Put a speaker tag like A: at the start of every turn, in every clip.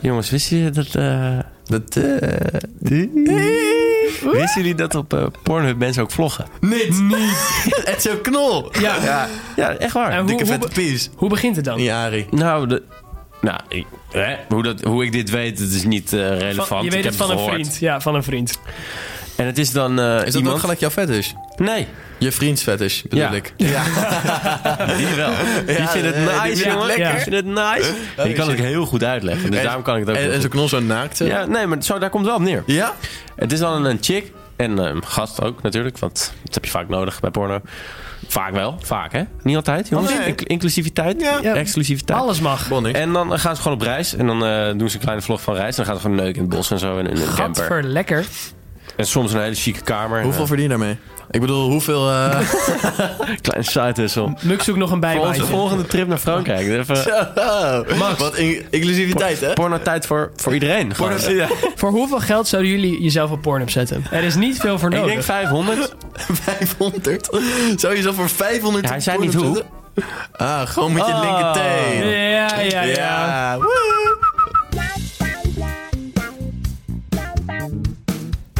A: Jongens, wisten jullie dat... eh, dat eh, wisten jullie dat op eh, Pornhub mensen ook vloggen?
B: Niet. Niet. Het is een knol. Ja.
A: Ja, echt waar.
B: En hoe,
A: Dikke
B: hoe,
A: vette
B: be-
A: pies.
B: hoe begint het dan?
C: Ja, Harry.
A: Nou, de, nou ik, hè? Hoe, dat, hoe ik dit weet, dat is niet eh, relevant.
B: Van, je
A: ik
B: weet
A: heb
B: het van een
A: gehoord.
B: vriend. Ja, van een vriend.
A: En het is dan eh,
C: Is dat
A: iemand...
C: ook gelijk jouw fetish?
A: Nee,
C: Je vriends fetish, bedoel
A: Ja.
C: ik.
A: die wel. die vindt het
C: nee,
A: nice,
C: eh, die vindt het
A: jongen.
B: lekker.
A: Die vindt het nice. ik kan het heel goed uitleggen, dus
C: En-
A: daarom kan ik het ook
C: En,
A: heel
C: en zo'n
A: goed.
C: knol zo naakt. eh?
A: Ja, nee, maar zo, daar komt het wel op neer.
C: Ja?
A: Het is dan een chick en eh, een gast ook natuurlijk, want dat heb je vaak nodig bij porno. Vaak wel, vaak hè? Niet altijd, jongens.
C: Oh, Nee.
A: Inc- inclusiviteit,
C: Ja.
A: exclusiviteit.
B: Alles mag.
C: Bonnie.
A: En dan eh, gaan ze gewoon op reis en dan eh, doen ze een kleine vlog van reis. En dan gaan ze gewoon neuken in het bos en zo en in een camper.
B: Gadver, lekker.
A: En soms een hele chique kamer.
C: hoeveel
A: Eh,
C: verdien je daarmee? Ik bedoel, hoeveel... eh,
A: klein sidewissel.
B: Muk zoekt nog een
A: Voor onze
B: bijbaantje.
A: volgende trip naar Frankrijk. Even
C: Wat in- inclusiviteit, hè?
A: porno tijd voor, voor iedereen. Gewoon. Ja.
B: Voor hoeveel geld zouden jullie jezelf op Pornhub zetten? Er is niet veel voor
A: Ik
B: nodig.
C: Oh.
A: denk 500.
C: 500? Zou je zo voor 500...
A: Ja, hij zei niet
C: porno
A: hoe.
C: zetten? Ah, gewoon met je
A: Oh.
C: linkerteen.
B: ja, ja, ja.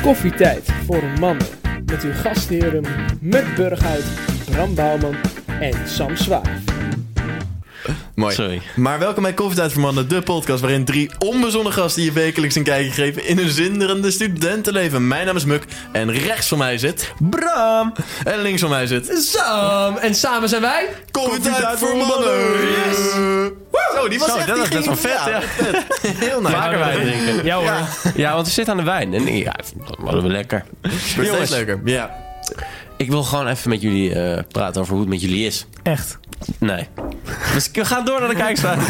D: Koffietijd voor mannen. Met uw gastheren Muk Burghuis, Bram Bouwman en Sam Zwaar.
C: Mooi.
A: Sorry.
C: Maar welkom bij Koffietijd voor Mannen, de podcast waarin drie onbezonnen gasten je wekelijks een kijkje geven in hun zinderende studentenleven. Mijn naam is Muk en rechts van mij zit... Bram! En links van mij zit...
B: Sam. En samen zijn wij...
C: Koffietijd voor Mannen! Yes! Zo, die was
A: Zo,
C: echt,
A: dat
C: die
A: is best
C: ging-
A: wel vet, ja.
C: vet. Heel nice.
A: Vaker wijn drinken.
B: Ja hoor.
A: Ja, want we zitten aan de wijn. En ja, dat hadden we lekker.
C: Wordt
A: Jongens.
C: steeds leuker. Ja.
A: Ik wil gewoon even met jullie eh, praten over hoe het met jullie is.
B: Echt.
A: Nee. Dus we gaan door naar de kijkstraat.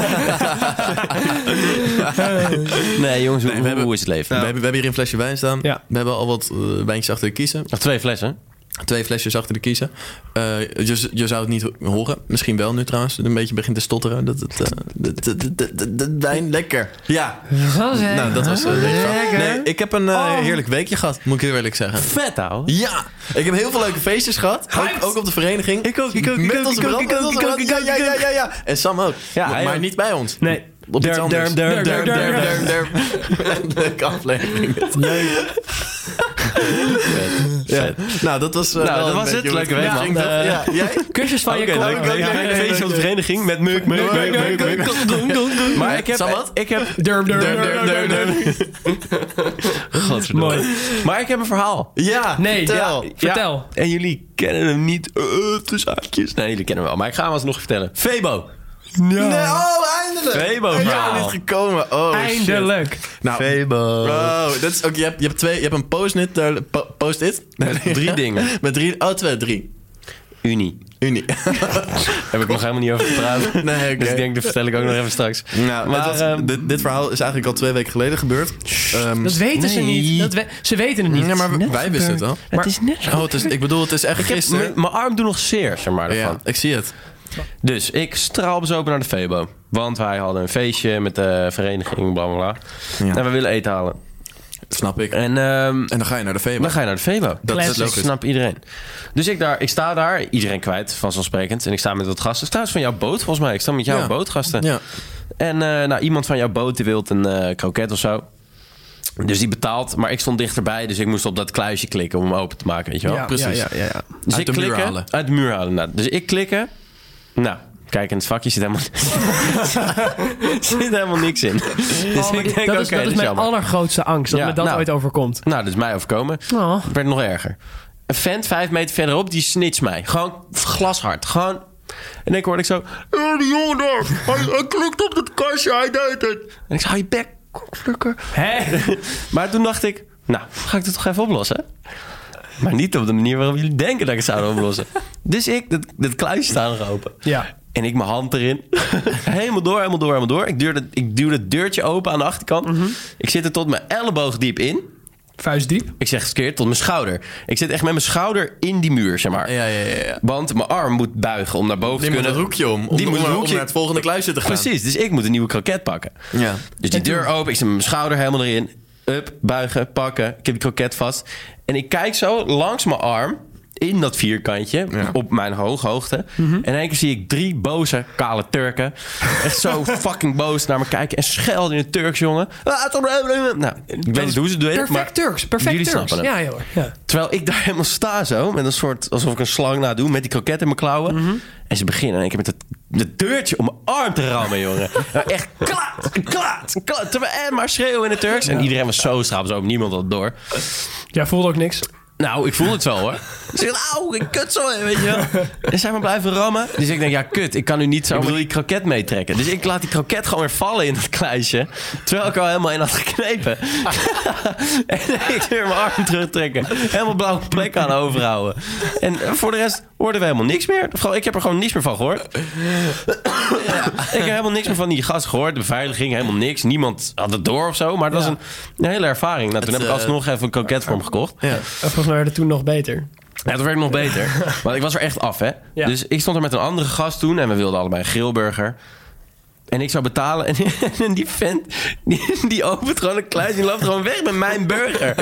A: nee, jongens, hoe,
C: we hebben-
A: hoe is het leven?
C: We, hebben, we hebben hier een flesje wijn staan.
B: Ja.
C: We hebben al wat eh, wijntjes achter de kiezen.
A: Nog twee flessen.
C: Twee flesjes achter de kiezen. Eh, je, je zou het niet ho- horen. Misschien wel nu trouwens. Het Een beetje begint te stotteren. Dat, dat, eh, dat, dat, dat, dat, dat- dat wijn lekker. Ja. Nou, dat was eh, een beetje fout. Nee, ik heb een eh,
A: Oh.
C: heerlijk weekje gehad. Moet ik heel eerlijk zeggen.
A: Vet, ouwe.
C: Ja, ik heb heel veel leuke feestjes gehad. Ook, ook op de vereniging. Ik ook,
A: ik ook, ik
C: Met
A: ook,
C: onze
A: ik ook,
C: brand,
A: ik
C: met
A: ook,
C: onze
A: ik ook,
C: brand.
A: ik ook,
C: Ja,
A: ik
C: ja,
A: ook.
C: ja, ja, ja. En Sam ook.
A: Ja,
C: Maar-
A: hij
C: maar
A: ook.
C: niet bij ons.
B: Nee.
C: Op iets
A: Derm,
C: anders.
A: derm, derm,
C: Derm, derm,
B: derm,
C: derm, derm. Leuke aflevering. Ja. Nou, dat was... eh,
A: Nou,
C: wel
A: dat
C: een
A: was
C: beetje
A: het.
C: hoe
A: Leuke week,
C: ging,
A: man.
C: dat-
A: Eh,
C: Ja, jij?
B: Kusjes van Oh, je
A: Oké, leuk,
B: koning.
A: leuk, leuk. Feestje op de vereniging met meuk, meuk, meuk, meuk, meuk. Maar ik
C: Sam,
A: heb...
C: wat?
A: Ik heb...
B: Durm, durm,
C: Derm,
B: durm,
C: derm,
B: durm,
C: derm,
B: durm.
C: derm.
A: Godverdomme. Maar ik heb een verhaal.
C: Ja,
B: Nee,
C: vertel.
B: ja, vertel.
A: En jullie kennen hem niet. eh tussen haakjes. Nee, jullie kennen hem wel. Maar ik ga hem alsnog vertellen. Febo.
C: Nee, oh, eindelijk.
A: Febo
C: Ja,
A: verhaal.
C: niet gekomen. Oh, shit.
B: Eindelijk.
C: Nou,
A: Febo.
C: Bro, dat is ook, je, hebt, je hebt twee, je hebt een post-it, daar- po- post-it?
A: Met drie dingen.
C: Met drie, oh twee, drie.
A: Unie.
C: Unie.
A: Heb ik nog helemaal niet over gepraat.
C: Nee, oké.
A: Dus ik denk, dat vertel ik ook nog even straks.
C: Nou,
A: Maar,
C: het was-
A: ehm,
C: dit, dit verhaal is eigenlijk al twee weken geleden gebeurd. Ehm,
B: Dat weten ze
A: Nee.
B: niet. Dat we- ze weten het niet.
C: ja, maar we- wij wisten het al.
A: het is net zo.
C: Oh, het is, ik bedoel, het is echt
A: Ik heb
C: gisteren.
A: m- mijn arm doet nog zeer, zeg maar.
C: ja,
A: Daarvan.
C: ik zie het.
A: Dus ik straal bezopen naar de Febo. Want wij hadden een feestje met de vereniging, bla bla bla.
C: Ja.
A: En we willen eten halen.
C: Snap ik. En
A: En ehm,
C: dan ga je naar de Febo.
A: dan ga je naar de Febo.
C: Dat is
B: Classic.
A: Dat
C: logisch.
A: snapt iedereen. Dus ik, daar, ik sta daar, iedereen kwijt, vanzelfsprekend. En ik sta met wat gasten. Het is Trouwens, van jouw boot, volgens mij. Ik sta met jouw
C: Ja.
A: boot, gasten.
C: Ja.
A: En eh, nou, iemand van jouw boot die wil een eh, kroket of zo. Dus die betaalt. Maar ik stond dichterbij, dus ik moest op dat kluisje klikken om hem open te maken. Weet je wel?
C: Precies.
B: Ja, ja, ja, ja.
A: Dus
C: Uit
A: ik
C: de muur
A: klikken,
C: halen.
A: Uit de muur halen, inderdaad. Dus ik klikken. Nou, kijk in het vakje zit helemaal, zit helemaal niks in. Dus
B: Oh, maar
A: ik
B: dit-
A: denk,
B: dat
A: oké,
B: is, dat is
A: is
B: mijn
A: jammer.
B: allergrootste angst, dat
A: Ja,
B: me dat
A: nou.
B: ooit overkomt.
A: Nou, dat is mij overkomen.
B: Oh.
A: Het werd nog erger. Een vent vijf meter verderop, die snitst mij. Gewoon glashard. Gewoon... En ik hoorde ik zo... "Eh, die jongen daar, hij, hij klikt op dat kastje, hij deed het. En ik zei, hou je bek, kokvlukker.
B: Hè?
A: Maar toen dacht ik, nou, ga ik dit toch even oplossen? Maar niet op de manier waarop jullie denken dat ik het zou oplossen. Dus ik, dat, dat kluisje staan nog open.
B: Ja.
A: En ik mijn hand erin. helemaal door, helemaal door,
B: Mhm.
A: helemaal door. Ik duw, dat, ik duw dat deurtje open aan de achterkant. Ik zit er tot mijn elleboog diep in.
B: Vuistdiep.
A: Ik zeg verkeerd, tot mijn schouder. Ik zit echt met mijn schouder in die muur, zeg maar.
C: Ja, ja, ja. ja.
A: Want mijn arm moet buigen om naar boven
C: Die
A: te
C: moet
A: kunnen.
C: het hoekje om. Om,
A: Die
C: om-
A: moet het
C: om
A: hoekje-
C: naar het volgende kluisje te gaan.
A: Precies, dus ik moet een nieuwe kroket pakken.
C: Ja.
A: Dus die deur open, ik zet mijn schouder helemaal erin. Up, buigen, pakken. Ik heb die kroket vast. En ik kijk zo langs mijn arm in dat vierkantje op mijn hooghoogte. En in één keer zie ik drie boze kale Turken. Echt zo fucking boos naar me kijken. En schelden in het Turks, jongen. Nou, ik weet niet hoe ze het deden.
B: Perfect
A: maar
B: Turks, perfect
A: jullie
B: Turks.
A: snappen het.
B: Ja, joh. Ja.
A: Terwijl ik daar helemaal sta zo, met een soort, alsof ik een slang na doe, met die kroket in mijn klauwen. En ze beginnen en ik heb met het, het deurtje om mijn arm te rammen, jongen. Nou, echt klaat, klaat, klaat. Terwijl en maar schreeuwen in het Turks. En iedereen was zo schaap, zo niemand had het door.
B: Jij voelde ook niks.
A: Nou, ik voel het wel hoor. Ze zegt, auw, ik kut zo, weet je wel. En zij maar blijven rammen. Dus ik denk, ja, kut, ik kan nu niet zo ik bedoel, die kroket meetrekken. Dus ik laat die kroket gewoon weer vallen in dat kluisje. Terwijl ik al helemaal in had geknepen. en ik weer mijn arm terugtrekken. Helemaal blauwe plek aan overhouden. En voor de rest hoorden we helemaal niks meer. Gewoon- Ik heb er gewoon niks meer van gehoord. Ik heb helemaal niks meer van die gast gehoord. De beveiliging, helemaal niks. Niemand had het door of zo. Maar het was een, een hele ervaring. Nou, toen
C: Het,
A: heb ik
C: eh,
A: alsnog even een kroket voor hem gekocht.
C: Ja.
B: En Volgens mij werd het toen nog beter.
A: Ja, dat werkt nog beter. Want ik was er echt af, hè.
B: Ja.
A: Dus ik stond er met een andere gast toen en we wilden allebei een grillburger. En ik zou betalen en, en die vent, die, die opent gewoon een kluis, die loopt gewoon weg met mijn burger.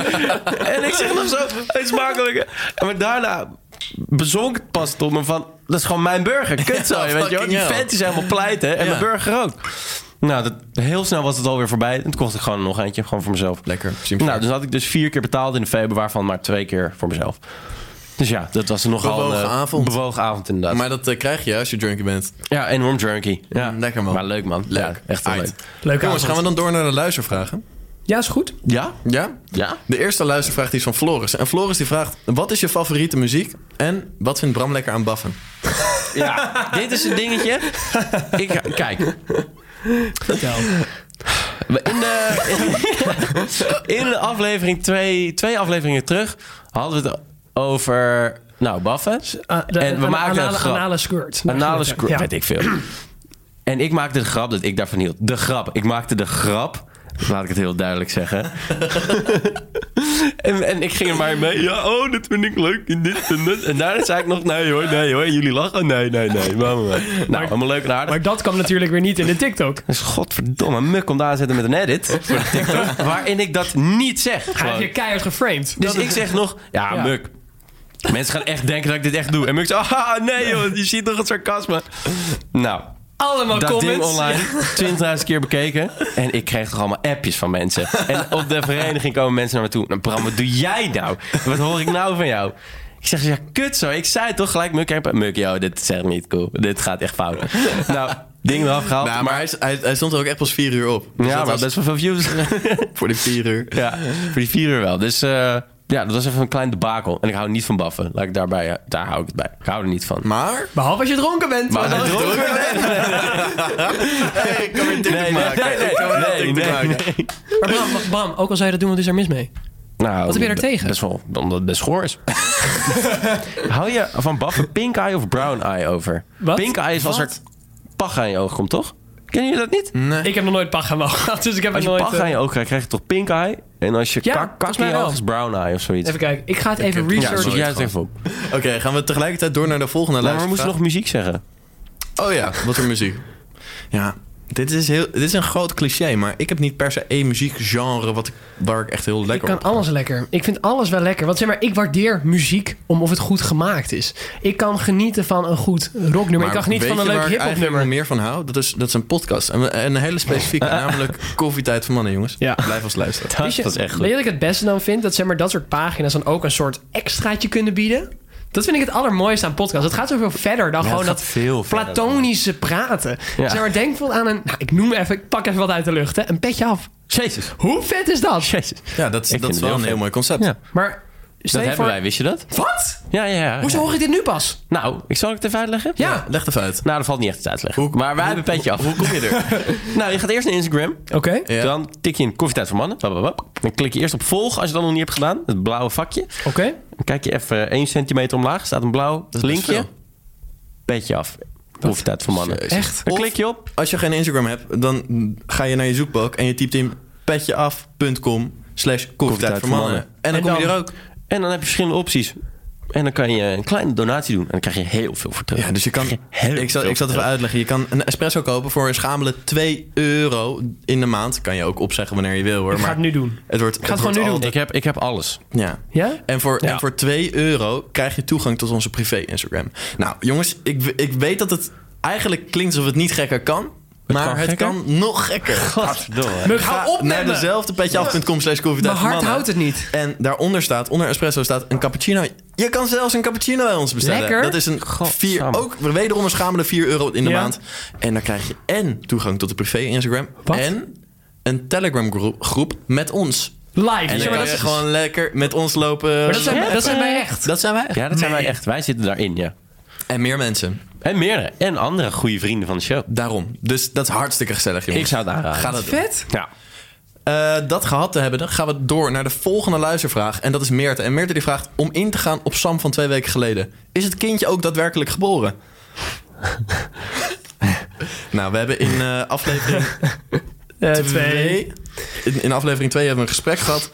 A: en ik zeg nog zo, het is makkelijk. Maar daarna bezonk het pas tot me van, dat is gewoon mijn burger. Kut zo,
C: Ja,
A: weet je wel. Die
C: fucking hell.
A: vent is helemaal pleiten en
C: Ja.
A: mijn burger ook. Nou, dat, heel snel was het alweer voorbij. En toen kocht ik gewoon nog eentje, gewoon voor mezelf.
C: Lekker. Simpel.
A: Nou, dus had ik dus vier keer betaald in de februari, waarvan maar twee keer voor mezelf. Dus ja, dat was nogal
C: Bewogen
A: eh,
C: avond.
A: bewogen avond inderdaad.
C: maar dat eh, krijg je als je drunken bent.
A: ja, enorm junkie. Ja.
C: Mm, lekker, man.
A: Maar leuk man.
C: Leuk.
A: Ja, echt heel
C: Aight.
A: leuk.
B: Leuk
C: Jongens,
B: avond.
C: gaan we dan door naar de luistervragen?
B: Ja, is goed.
A: Ja?
C: Ja?
A: Ja?
C: De eerste luistervraag die is van Floris. En Floris die vraagt, wat is je favoriete muziek? En wat vindt Bram lekker aan baffen?
A: Ja. Dit is een dingetje. Ik, kijk,
B: Vertel.
A: in de, in, de aflevering twee, twee afleveringen terug hadden we het over, nou, baffen.
B: Ah, de-
A: En we
B: een
A: maken een
B: anale,
A: grap.
B: anale squirt. Daar ging
A: Anale
B: het,
A: screw,
B: ja.
A: weet ik veel. En ik maakte de grap dat ik daarvan hield. De grap. Ik maakte de grap. Laat ik het heel duidelijk zeggen. en, en ik ging er maar mee. Ja, oh, dit vind ik leuk. En, dit en, dat. en daarna zei ik nog, nee hoor, nee hoor. Jullie lachen. Nee, nee, nee. Maar, maar, maar. Nou, allemaal leuk en aardig.
B: Maar dat kwam natuurlijk weer niet in de TikTok.
A: dus godverdomme, muk om daar aan te zetten met een edit. Voor de TikTok, waarin ik dat niet zeg.
B: Hij heeft
A: gewoon.
B: je keihard geframed.
A: Dus ik zeg nog, ja,
B: Ja.
A: Muk. Mensen gaan echt denken dat ik dit echt doe. En Muk zegt, ah, nee joh, je ziet toch het sarcasme. Nou,
B: Allemaal
A: dat
B: comments.
A: ding online, 20.000 keer bekeken. En ik kreeg toch allemaal appjes van mensen. En op de vereniging komen mensen naar me toe. Nou Bram, wat doe jij nou? Wat hoor ik nou van jou? Ik zeg, ja, kut zo. Ik zei toch gelijk, Muk, heb- Muk, joh, oh, dit is echt niet cool. Dit gaat echt fout. Nou, ding eraf gehaald.
C: Nou, maar hij, is- hij, hij stond er ook echt pas vier uur op. Dus
A: ja,
C: dat
A: maar
C: was
A: best wel veel views.
C: voor die vier uur.
A: Ja, voor die vier uur wel. Dus eh, ja, dat was even een klein debakel. En ik hou niet van baffen. Laat ik daarbij, eh, daar hou ik het bij. Ik hou er niet van.
C: Maar...
B: Behalve als je dronken bent.
A: Maar
B: Want
A: als je
B: dan-
A: dronken
C: Hey, ik kan weer TikTok
A: Nee, nee,
C: maken.
A: nee, nee,
C: ik kan weer
A: nee,
C: TikTok
A: nee,
C: maken.
A: nee.
B: Maar Bram, Bram, ook al zou je dat doen, wat is er mis mee?
A: Nou,
B: Wat heb je daar
A: b-
B: tegen?
A: Best wel, omdat het best goor is. hou je van baffen pink eye of brown eye over?
B: Wat?
A: Pink eye is als er
B: Wat?
A: pach aan je oog komt, toch? Kennen jullie dat niet?
B: Ik heb nog nooit pach aan mijn oog gehad, dus ik heb
A: Als
B: het
A: je
B: nooit...
A: pach
B: eh,
A: aan je oog krijgt, krijg je toch pink eye? En als je
B: Ja,
A: kak, kak
B: volgens
A: in je
B: mij
A: oog
B: wel.
A: is brown eye of zoiets.
B: Even kijken, ik ga het even
C: heb- ja,
A: ja,
B: researchen.
A: zoek
C: sorry.
A: jij het even op.
C: Oké, gaan we tegelijkertijd door naar de volgende
A: Maar we
C: luistervraag.
A: moesten nog muziek zeggen.
C: Oh ja, wat voor muziek. Ja, dit is, heel, dit is een groot cliché, maar ik heb niet per se één muziekgenre wat ik, waar ik echt heel
B: ik
C: lekker
B: kan
C: op
B: alles lekker. Ik vind alles wel lekker. Want zeg maar, ik waardeer muziek om of het goed gemaakt is. Ik kan genieten van een goed rocknummer. ik kan genieten van een leuk
C: hip
B: hip-hop nummer.
C: meer van hou? Dat is, dat is een podcast. En we- en een hele specifieke, namelijk Koffietijd van Mannen, jongens.
B: Ja.
C: Blijf ons luisteren.
A: Dat is echt
B: Weet
A: goed.
B: je wat ik het beste dan vind? Dat zeg maar, dat soort pagina's dan ook een soort extraatje kunnen bieden. Dat vind ik het allermooiste aan podcasts. Het gaat zoveel verder dan
A: Ja,
B: gewoon
A: het gaat
B: dat
A: veel verder
B: platonische praten.
A: Ja.
B: Zeg maar, denk bijvoorbeeld aan een... Nou, ik noem even, ik pak even wat uit de lucht. Hè. Een petje af.
A: Jezus.
B: Hoe vet is dat?
A: Jezus.
C: Ja, dat,
A: vind
C: dat is
A: het
C: wel
A: heel
C: een heel
A: vet.
C: mooi concept.
A: Ja.
B: Maar stel
A: Dat
B: je
A: hebben
B: voor...
A: wij, wist je dat?
B: Wat?
A: Ja, ja, ja.
B: Hoezo hoor ik dit nu pas?
A: Nou, ik zal het even uitleggen.
B: Ja.
C: Leg het uit.
A: Nou, dat valt niet echt te uitleggen.
C: Hoe-
A: maar wij hebben een petje af.
C: Hoe kom je er?
A: nou, je gaat eerst naar Instagram.
B: Oké.
C: Ja.
A: Dan tik je in Koffietijd voor Mannen. Blablabla. Dan klik je eerst op volgen als je dat nog niet hebt gedaan. Het blauwe vakje.
B: Oké.
A: Dan kijk je even 1 centimeter omlaag. Staat een blauw
C: best
A: linkje.
C: veel.
A: Petje af. Koffietijd voor Mannen.
C: Jezus.
B: Echt?
A: Dan
C: Of-
A: klik je op.
C: Als je geen Instagram hebt, dan ga je naar je zoekbalk en je typt in petjeaf.com slash koffietijd voor mannen. En dan kom je er ook.
A: En dan heb je verschillende opties. En dan kan je een kleine donatie doen. En dan krijg je heel veel voor terug.
C: Ja, dus je kan.
A: Dan krijg je heel
C: Ik zal,
A: veel
C: ik zal het
A: voor
C: even uitleggen. Je kan een espresso kopen voor een schamele 2 euro in de maand. Kan je ook opzeggen wanneer je wil hoor.
B: Ik ga
C: Maar
B: het nu doen.
C: het wordt. Ik
B: ga het gewoon nu
A: terug. Ik heb, ik heb alles.
C: Ja.
B: Ja?
C: En voor,
A: Ja.
C: en voor 2 euro krijg je toegang tot onze privé Instagram. Nou, jongens, ik, ik weet dat het eigenlijk klinkt alsof het niet gekker kan. maar
A: kan
C: het
A: gekker?
C: kan nog gekker.
A: Godverdomme.
B: Muk, hou op
C: Naar
B: met me.
C: dezelfde petjeaf.com slash koffietijd
B: Mijn
C: voor
B: hart
C: mannen.
B: houdt het niet.
C: En daaronder staat, onder espresso staat een cappuccino. Je kan zelfs een cappuccino bij ons bestellen.
B: Lekker.
C: Dat is een vier,
A: samen.
C: ook wederom een schamele 4 euro in de
B: Ja.
C: maand. En dan krijg je en toegang tot de privé Instagram.
B: Wat?
C: En een Telegram groep, groep met ons.
B: Live.
C: En
B: Ja,
C: dan
B: maar
C: kan
B: dat,
C: je
B: is-
C: gewoon lekker met ons lopen.
B: maar dat zijn, dat zijn wij echt.
C: Dat zijn wij.
A: Ja, dat zijn wij echt. Wij zitten daarin, ja.
C: En meer mensen.
A: En meerdere. En andere goede vrienden van de show.
C: Daarom. Dus dat is hartstikke gezellig, jongens.
A: Ik zou het aanraden.
C: Ga dat doen.
B: Vet.
A: Ja.
C: Eh, dat gehad te hebben, dan gaan we door naar de volgende luistervraag. En dat is Meerte. En Meerte die vraagt om in te gaan op Sam van twee weken geleden. Is het kindje ook daadwerkelijk geboren? nou, we hebben in eh, aflevering Eh,
B: Eh,
C: 2... In, in aflevering 2 hebben we een gesprek gehad...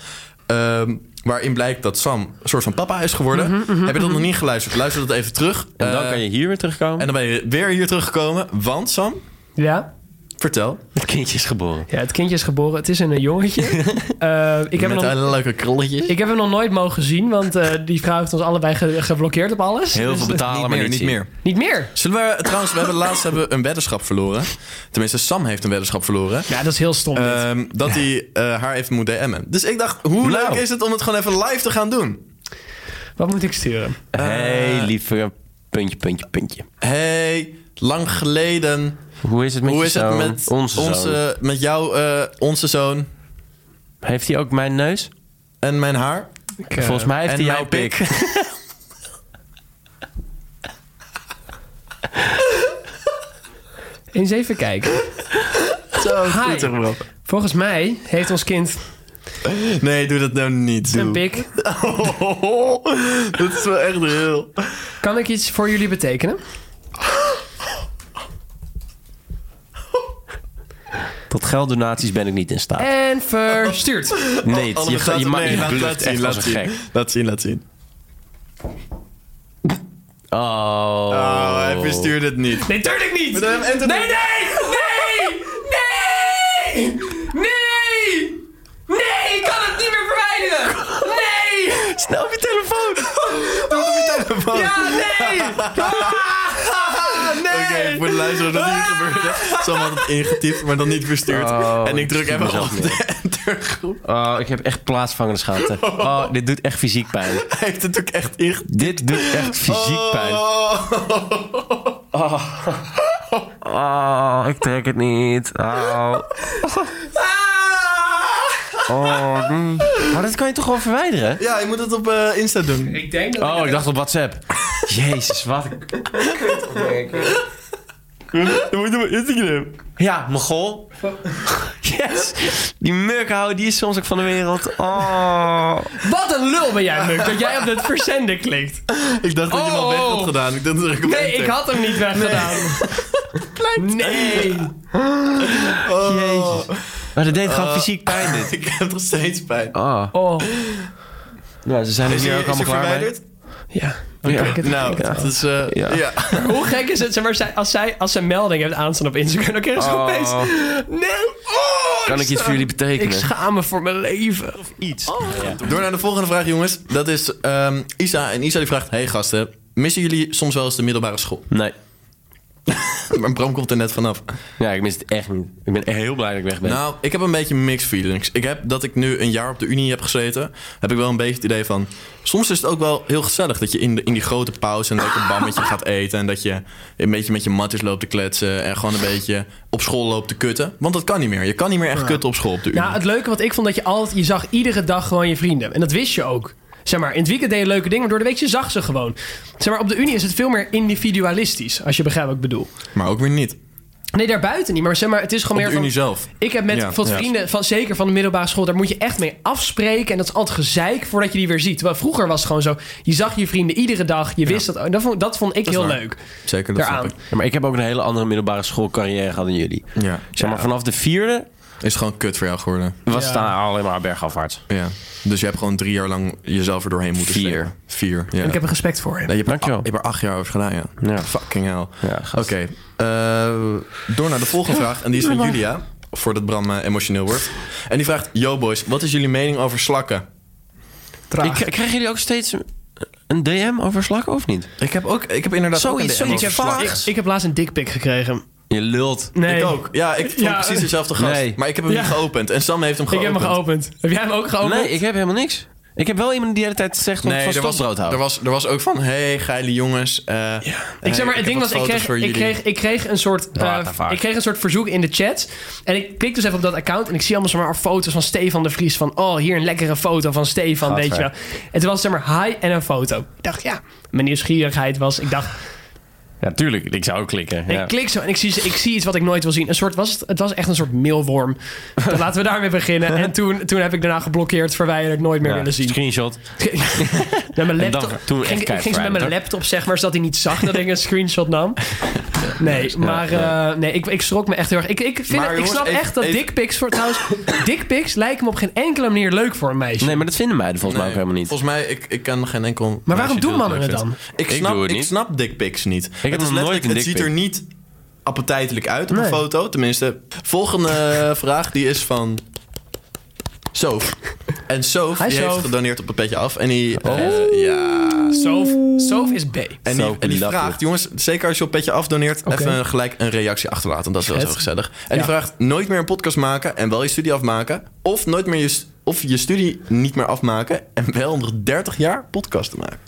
C: ehm, waarin blijkt dat Sam een soort van papa is geworden.
B: Mhm,
C: Heb je dat nog niet geluisterd? Luister dat even terug.
A: En dan
C: Eh,
A: kan je hier weer terugkomen.
C: en dan ben je weer hier teruggekomen. Want Sam,
B: Ja.
C: vertel.
A: het kindje is geboren.
B: ja, het kindje is geboren. Het is een jongetje. Eh,
C: met
B: ik, heb hem nog,
C: een leuke krulletjes.
B: ik heb hem nog nooit mogen zien, want eh, die vrouw heeft ons allebei ge- geblokkeerd op alles.
A: Heel
B: Dus
A: veel
B: dat-
A: betalen, maar niet,
C: niet
A: zien.
C: meer.
B: Niet meer.
C: Zullen we, trouwens, we hebben laatst hebben we een weddenschap verloren. Tenminste, Sam heeft een weddenschap verloren.
B: Ja, dat is heel stom. dit.
C: Ehm, dat hij eh, haar heeft moeten DM'en. Dus ik dacht, hoe
A: Nou.
C: leuk is het om het gewoon even live te gaan doen?
B: Wat moet ik sturen?
A: Hé, hey, lieve puntje, puntje, puntje.
C: Hey, lang geleden.
A: Hoe is het met
C: hoe
A: je
C: is het
A: zoon?
C: met
A: onze, zoon?
C: onze, met jou, eh, onze zoon
A: Heeft hij ook mijn neus?
C: en mijn haar?
B: Ik, eh,
A: Volgens mij heeft
C: en
A: hij jouw
C: mijn
A: pik.
B: Eens even kijken.
C: Zo
B: Hi.
C: goed, zeg maar op.
B: Volgens mij heeft ons kind
C: Nee, doe dat nou niet.
B: een
C: doe.
B: pik.
C: dat is wel echt heel.
B: Kan ik iets voor jullie betekenen?
A: Tot gelddonaties ben ik niet in staat.
B: En verstuurd.
A: Nee,
C: Allemaal
A: je, ga- je,
C: staat-
A: ma-
C: nee,
A: je
C: laat-
A: bluft
C: laat
A: echt
C: zien,
A: als
C: laat
A: een
C: zien.
A: gek.
C: Laat zien, laat zien.
A: Oh.
C: Oh, hij verstuurde het niet.
B: Nee, tuurlijk niet!
C: We hebben Anthony-
B: Nee, nee! Nee! Nee! Nee! Nee! Ik kan het niet meer verwijderen! Nee!
C: Snel op je telefoon! Doe het op je telefoon!
B: Ja, nee!
C: Oké, voor de luisteraar dat niet gebeurde. Sam had het ingetypt, maar dan niet verstuurd.
A: Oh,
C: en ik druk
A: ik
C: even
A: zie
C: op
A: mezelf
C: de entergroep.
A: Oh, ik heb echt plaatsvangende schaamte. Oh, dit doet echt fysiek pijn.
C: Hij heeft het ook echt ingetypt.
A: Dit doet echt fysiek pijn.
C: Oh.
A: Oh, ik trek het niet. Oh.
C: Ah.
A: Oh, nee. Maar dat kan je toch gewoon verwijderen?
C: Ja, je moet het op eh, Insta doen.
B: Ik denk dat
A: Oh, ik dacht op WhatsApp. Jezus, wat een
C: Dan moet je op Instagram.
A: Ja, Mogol. Yes. Die murkhouder, die is soms ook van de wereld. Oh.
B: Wat een lul ben jij, Muk, dat jij op dat verzenden klikt.
C: Ik dacht dat je hem al weg
B: Oh.
C: had gedaan. Ik dacht dat ik op
B: Nee,
C: enter.
B: ik had hem niet weggedaan. Nee.
C: Oh.
A: Maar dat deed gewoon fysiek pijn, dit.
C: Ik heb nog steeds pijn.
A: Oh.
B: Oh,
A: Nou, ze zijn er
C: Is
A: hier
C: hij
A: ook allemaal klaar mee.
C: verwijderd?
B: ja.
A: Ja.
C: Nou,
A: Ja.
C: dat is... eh,
A: Ja.
C: ja.
B: Hoe gek is het, zeg maar, zij- als zij, als zij melding heeft aanstaan op Instagram, dan krijgen ze
A: Oh.
B: opeens... Nee! Oh,
A: Kan ik iets voor jullie
B: Ik
A: betekenen?
B: schaam me voor mijn leven.
A: iets.
C: Door naar de volgende vraag, jongens. Dat is ehm, Isa. En Isa die vraagt... Hey gasten, missen jullie soms wel eens de middelbare school?
A: Nee.
C: Maar Bram komt er net vanaf.
A: Ja, ik mis het echt niet. Ik ben echt heel blij dat ik weg ben.
C: Nou, ik heb een beetje mixed feelings. Ik heb dat ik nu een jaar op de Unie heb gezeten, heb ik wel een beetje het idee van. Soms is het ook wel heel gezellig dat je in, de, in die grote pauze een lekker bammetje gaat eten. En dat je een beetje met je matjes loopt te kletsen. En gewoon een beetje op school loopt te kutten. Want dat kan niet meer. Je kan niet meer echt kutten op school op de Unie.
B: Nou, het leuke wat ik vond, dat je altijd, je zag iedere dag gewoon je vrienden. En dat wist je ook. Zeg maar, in het weekend deed je leuke dingen, maar door de week je zag ze gewoon. Zeg maar, op de Unie is het veel meer individualistisch, als je begrijpt wat ik bedoel.
C: maar ook weer niet.
B: Nee, daarbuiten niet, maar zeg maar, het is gewoon
C: Op de
B: meer
C: Unie
B: van...
C: zelf.
B: Ik heb met
C: Ja,
B: veel
C: ja.
B: vrienden, van, zeker van de middelbare school, daar moet je echt mee afspreken. En dat is altijd gezeik voordat je die weer ziet. Terwijl vroeger was het gewoon zo, je zag je vrienden iedere dag, je wist dat. En dat vond, dat vond ik
C: is
B: heel
C: waar.
B: leuk.
C: Zeker, dat
B: Daaraan.
C: snap ik.
A: Ja, maar ik heb ook een hele andere middelbare schoolcarrière gehad dan jullie.
C: Ja.
A: Zeg maar, vanaf de vierde
C: Is het gewoon kut voor jou geworden?
A: Was
B: Ja.
A: het dan alleen maar bergafwaarts?
C: Ja. Dus je hebt gewoon drie jaar lang jezelf er doorheen moeten
A: Vier.
C: slepen. Vier. Ja.
B: En ik heb er respect voor.
C: Nee, je, hebt er,
A: Dankjewel.
C: je hebt er acht jaar over gedaan, ja.
A: Ja.
C: Fucking hell.
A: Ja, gast.
C: Oké, eh, door naar de volgende vraag. En die is van Julia, voordat Bram eh, emotioneel wordt. En die vraagt, yo boys, wat is jullie mening over slakken?
A: Ik, krijgen jullie ook steeds een DM over slakken of niet?
C: Ik heb ook, ik heb inderdaad
A: Zoiets,
C: ook een DM
A: zoiets
C: over slakken.
A: vaags.
B: Ik heb laatst een dikpik gekregen.
A: Je lult.
B: Nee.
C: Ik ook. Ja, ik vond
B: Ja.
C: precies dezelfde gast.
A: Nee.
C: Maar ik heb hem
B: Ja.
C: niet geopend. En Sam heeft hem
B: Ik
C: geopend.
B: heb hem geopend. Heb jij hem ook geopend?
A: Nee, ik heb helemaal niks. Ik heb wel iemand die de hele tijd zegt om
C: Nee,
A: van
C: er was,
A: stokbrood te
C: er,
A: houden.
C: was, er was ook van, hey, geile jongens. eh, hey,
B: Ik zeg maar, het
C: heb
B: ding
C: wat
B: was, ik
C: foto's
B: kreeg,
C: voor
B: ik,
C: jullie.
B: kreeg, ik, kreeg een soort, eh,
A: What the fuck?
B: ik kreeg een soort verzoek in de chat. En ik klik dus even op dat account en ik zie allemaal zeg maar, foto's van Stefan de Vries. Van, oh, hier een lekkere foto van Stefan, weet je wel. En toen was het zeg maar hi en een foto. Ik dacht, ja, mijn nieuwsgierigheid was, ik dacht,
A: Ja, tuurlijk. Ik zou ook klikken.
B: ik klik zo en ik zie, ik zie iets wat ik nooit wil zien. Een soort, was het, het was echt een soort meelworm. Dan laten we daarmee beginnen. En toen, toen heb ik daarna geblokkeerd, verwijderd, nooit meer willen zien.
A: Screenshot.
B: Met mijn
A: En dan
B: laptop.
A: toen echt
B: ging, ik
A: keihard
B: ging ze met mijn
A: verwijderd,
B: laptop, zeg maar, zodat hij niet zag dat ik een screenshot nam. Nee, maar eh, nee, ik, ik schrok me echt heel erg. Ik, ik, vind,
C: Maar
B: het- ik
C: jongens,
B: snap
C: even-
B: echt dat
C: even-
B: dickpics voor trouwens. dickpics lijken me op geen enkele manier leuk voor een meisje.
A: Nee, maar dat vinden meiden volgens mij
C: Nee,
A: ook helemaal niet.
C: Volgens mij, ik, ik ken geen enkel...
B: Maar waarom
C: meisje die
B: doen
C: dat
B: mannen
C: leuk
B: het
C: vindt. Ik
A: Ik
C: snap,
A: doe
C: ik
A: het niet.
C: snap dickpics niet. Ik
A: heb nog nooit een
C: Het ziet er niet appetijtelijk uit op een
B: Nee.
C: foto, tenminste. Volgende vraag, die is van... Soof. En Soof,
B: Hi,
C: die heeft
B: Soof.
C: gedoneerd op het petje af. En die...
A: Oh.
C: eh, ja...
B: Sof, Sof is B.
C: En die,
A: Zo,
C: en die
A: love
C: vraagt,
A: it.
C: jongen, zeker als je op Petje Af doneert,
B: Oké.
C: even gelijk een reactie achterlaten. Want dat is wel zo
B: Het.
C: gezellig. En
B: Ja.
C: die vraagt, nooit meer een podcast maken en wel je studie afmaken. Of nooit meer je, st- of je studie niet meer afmaken en wel nog 30 jaar podcast te maken.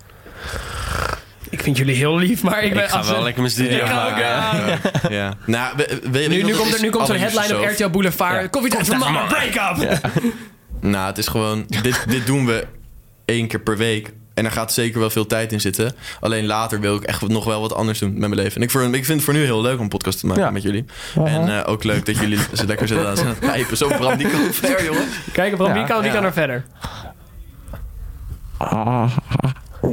B: Ik vind jullie heel lief, maar ik ben
A: Ik ga wel lekker mijn studio maken. hè.
C: Ja. Nou, we- we- weet je
B: Nu,
C: wat
B: nu
C: het
B: komt er,
C: is?
B: nu komt zo'n
C: Allereerst
B: headline op
C: zo.
B: RTL Boulevard.
A: Ja.
B: Koffietijd voor mannen, break-up!
C: Nou, het is gewoon, dit, dit doen we één keer per week. En daar gaat zeker wel veel tijd in zitten. Alleen later wil ik echt nog wel wat anders doen met mijn leven. En ik, voor, ik vind het voor nu heel leuk om een podcast te maken
A: Ja.
C: met jullie. En eh, ook leuk dat jullie ze lekker zitten aan het pijpen. Zo brand die kan ver, jongen.
B: Kijk, Bram, wie
A: Ja,
B: kan, wie
C: ja.
B: kan er verder?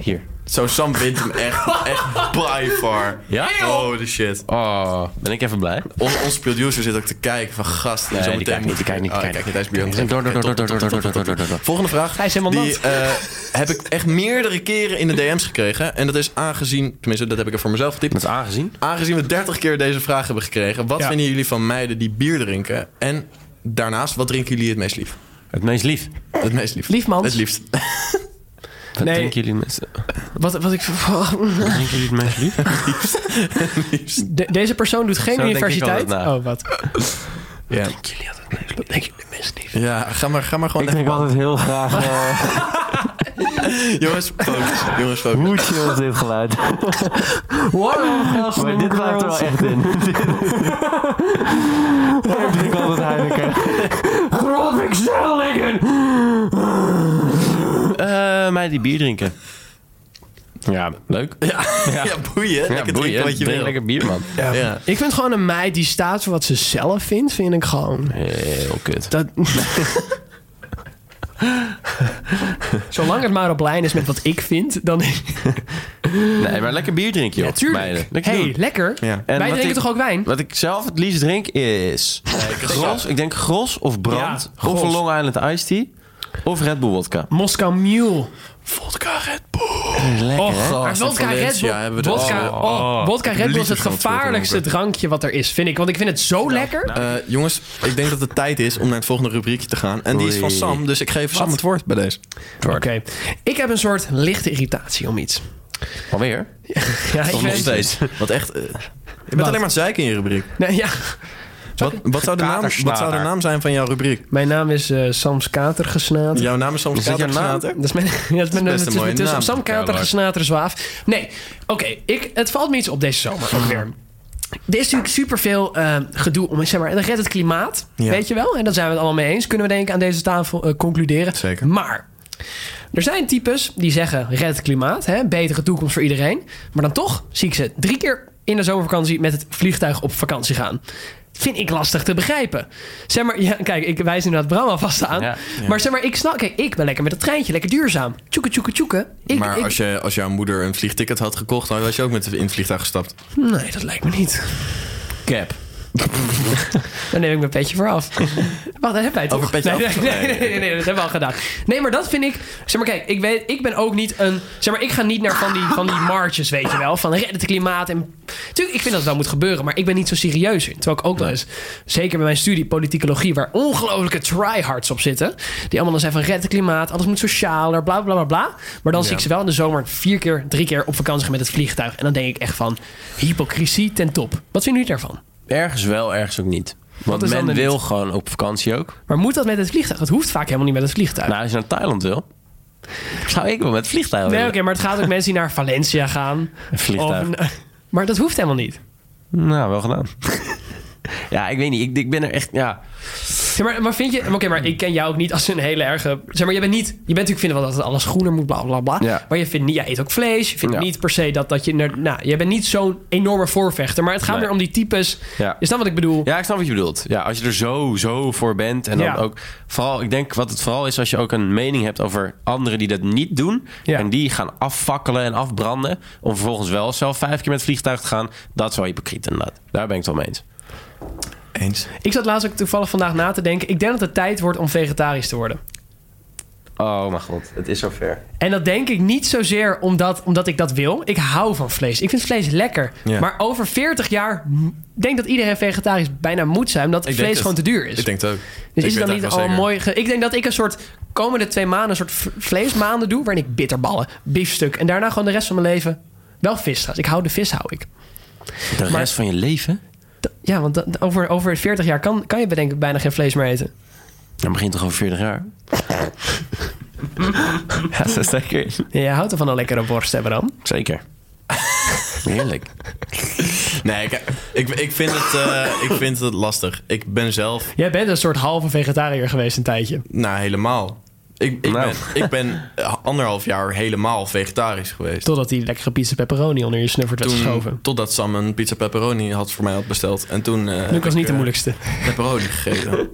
A: Hier.
C: Zo, Sam wint hem echt, echt by far.
A: Ja?
C: Holy shit.
A: Oh, ben ik even blij.
C: On, onze producer zit ook te kijken van gast.
A: Nee,
C: zo
A: die
C: meteen
A: kijkt niet, die kijkt niet, die
C: Oh, hij
A: kijkt
C: kijkt niet. Hij is Björn.
A: Door, door, door, door, door, door, door, door, door, door, door.
C: Volgende vraag.
B: Hij is helemaal
C: Die eh, heb ik echt meerdere keren in de DM's gekregen. En dat is aangezien, tenminste dat heb ik er voor mezelf getypt.
A: Dat is aangezien.
C: Aangezien we 30 keer deze vraag hebben gekregen. Wat
B: Ja.
C: vinden jullie van meiden die bier drinken? En daarnaast, wat drinken jullie het meest lief?
A: Het meest lief.
C: Het meest lief.
B: Lief, mans.
C: Het liefst.
A: Wat
B: Nee.
A: denken jullie het meest-
B: Wat, wat ik...
A: wat denken jullie het meest lief?
B: De- deze persoon doet geen
A: Zo denk ik
B: universiteit.
A: altijd na.
B: Oh, wat?
C: Ja.
B: Jullie hadden het meest Denk jullie het meest lief?
C: ja, ga maar, ga maar gewoon
E: Ik denk
C: even-
E: altijd heel graag eh,
C: Jongens, focus. Jongens, focus.
E: hoe chill is dit geluid. maar dit blijft er wel echt in. Daarom drink ik altijd Heineken. Grof ik liggen.
A: Eh, Meiden die bier drinken. Ja, leuk.
C: Ja, boeien. lekker drinken wat je
A: Drink
C: wil.
A: lekker bier, man.
C: Ja.
B: Ik vind gewoon een meid die staat voor wat ze zelf vindt, vind ik gewoon.
A: Heel kut.
B: Dat... Zolang het maar op lijn is met wat ik vind, dan.
A: Nee, maar lekker bier drinken, joh.
B: Natuurlijk.
A: meiden. Lekker
B: hey,
A: doen.
B: lekker.
C: Ja.
A: En
B: Wij
A: wat
B: drinken
A: ik-
B: toch ook wijn?
A: Wat ik zelf het liefst drink is... gros, ik denk gros of brand.
B: Ja,
A: of
B: Gros.
A: een Long Island Iced Tea. Of Red Bull Wodka.
B: Moskou Mule.
C: Vodka Red Bull.
A: Lekker,
B: Och,
A: hè?
B: maar
C: en
B: vodka
C: Valencia
B: Red Bull.
C: hebben we er-
B: Vodka,
C: oh,
B: oh, vodka Red Bull is het
C: Liters van het
B: gevaarlijkste
C: filter
B: drankje wat er is, vind ik. Want ik vind het zo lekker.
C: Eh, jongens, ik denk dat het tijd is om naar het volgende rubriekje te gaan. En die is van
A: Oei.
C: Sam, dus ik geef Sam het woord bij deze.
B: Oké. Ik heb een soort lichte irritatie om iets.
A: Alweer?
B: Ja, ik
C: Of nog
B: weet-
C: steeds. Wat echt. eh, je bent
B: Wat?
C: alleen maar aan het zeiken in je rubriek.
B: Nee, ja.
C: Wat, wat, zou de naam, wat zou de
A: Katersnader.
C: naam zijn van jouw rubriek?
B: Mijn naam is eh Sams Kater gesnaat.
C: Jouw naam is Sam
A: Is dat jouw naam?
C: Katersnater.
B: Dat is mijn, ja, dat is mijn,
C: best een
B: het is-
C: mooie
B: het is
C: naam.
B: Sam Kater,
A: Kaarlaar.
B: gesnater zwaaf. Nee, oké, ik het valt me iets op deze zomer ook weer. Er is natuurlijk superveel eh, gedoe om, zeg maar, dan redt het klimaat,
C: Ja.
B: weet je wel. En daar zijn we het allemaal mee eens, kunnen we denk ik aan deze tafel eh, concluderen.
C: Zeker.
B: Maar er zijn types die zeggen, red het klimaat, hè, betere toekomst voor iedereen. Maar dan toch zie ik ze drie keer in de zomervakantie met het vliegtuig op vakantie gaan. Vind ik lastig te begrijpen. Zeg maar, ja, kijk, ik wijs inderdaad Bram alvast aan.
A: Ja.
B: Maar zeg maar, ik snap, kijk, ik ben lekker met het treintje, lekker duurzaam. Tjoeke, tjoeke, tjoeke. Ik,
C: maar
B: ik-
C: als, je, als jouw moeder een vliegticket had gekocht, dan was je ook met in het vliegtuig gestapt.
B: Nee, dat lijkt me niet.
A: Cap.
B: Daar neem ik mijn petje voor af. Wacht, dat hebben wij toch?
C: Over petje
B: nee,
C: af.
B: Nee, nee, nee, nee, nee, dat hebben we al gedaan. Nee, maar dat vind ik... Zeg maar, kijk, ik, weet, ik ben ook niet een... Zeg maar, ik ga niet naar van die, van die marches, weet je wel. Van redden het klimaat en... Tuurlijk, ik vind dat het wel moet gebeuren, maar ik ben niet zo serieus in. Terwijl ik ook wel eens... Zeker bij mijn studie politicologie, waar ongelofelijke tryhards op zitten. Die allemaal dan zijn van red het klimaat, alles moet socialer, bla, bla, bla, bla. Maar dan zie ik ze wel in de zomer vier keer, drie keer op vakantie gaan met het vliegtuig. En dan denk ik echt van, hypocrisie ten top. Wat vinden jullie daarvan?
A: Ergens wel, ergens ook niet. Want
B: is dan
A: men
B: er niet?
A: wil gewoon op vakantie ook.
B: Maar moet dat met het vliegtuig? Dat hoeft vaak helemaal niet met het vliegtuig.
A: Nou, als je naar Thailand wil, zou ik wel met vliegtuig
B: nee,
A: willen.
B: oké, maar het gaat ook mensen die naar Valencia gaan.
A: Vliegtuig.
B: Of- maar dat hoeft helemaal niet.
A: Nou, wel gedaan. ja, ik weet niet. Ik, ik ben er echt... Ja,
B: Ja, maar, maar vind je... Oké, maar ik ken jou ook niet als een hele erge... Zeg maar, je bent niet... Je bent natuurlijk vinden wel dat het alles groener moet, bla, bla, bla.
A: Ja.
B: Maar je vindt niet... Jij eet ook vlees. Je vindt
A: Ja.
B: niet per se dat, dat je... naar- nou, je bent niet zo'n enorme voorvechter. Maar het gaat
A: Nee.
B: meer om die types.
A: Ja.
B: Is dat wat ik bedoel?
A: Ja, ik snap wat je bedoelt. Ja, als je er zo, zo voor bent. En dan
B: Ja.
A: ook vooral, ik denk wat het vooral is als je ook een mening hebt over anderen die dat niet doen.
B: Ja.
A: En die gaan afvakkelen en afbranden. Om vervolgens wel zelf vijf keer met het vliegtuig te gaan. Dat is wel hypocriet inderdaad. Daar ben ik het wel mee eens.
C: Eens.
B: Ik zat laatst ook toevallig vandaag na te denken. Ik denk dat het tijd wordt om vegetarisch te worden.
A: Oh mijn god, het is zover.
B: En dat denk ik niet zozeer omdat, omdat ik dat wil. Ik hou van vlees. Ik vind vlees lekker.
C: Ja.
B: Maar over 40 jaar m- denk dat iedereen vegetarisch bijna moet zijn. Omdat
C: Ik denk
B: vlees
C: het.
B: gewoon te duur is.
C: Ik denk het ook. Ik
B: dus is het
C: weet
B: dan
C: eigenlijk
B: niet
C: wel
B: al
C: zeker.
B: mooi... ge- ik denk dat ik een soort komende twee maanden... een soort v- vleesmaanden doe... waarin ik bitterballen, biefstuk... en daarna gewoon de rest van mijn leven wel vis trouwens. Ik hou de vis, hou ik.
A: De rest van je leven?
B: D- Ja, want dat- over, over 40 jaar kan, kan je denk ik bijna geen vlees meer eten.
A: Dan begint toch over 40 jaar? ja, dat is lekker.
B: Ja, je houdt ervan een lekkere borst hebben dan.
A: Zeker. Heerlijk.
C: Nee, ik, ik, ik, vind het, eh, ik vind het lastig. Ik ben zelf,
B: Jij bent een soort halve vegetariër geweest een tijdje.
C: nou helemaal. Ik, ik,
A: Nou.
C: ben, ik ben eh, anderhalf jaar helemaal vegetarisch geweest.
B: Totdat die lekkere pizza pepperoni onder je snuffert werd
C: Toen,
B: geschoven.
C: totdat Sam een pizza pepperoni had voor mij had besteld. En toen eh,
B: Luc was
C: heb
B: niet
C: ik,
B: de
C: eh,
B: moeilijkste.
C: pepperoni gegeten.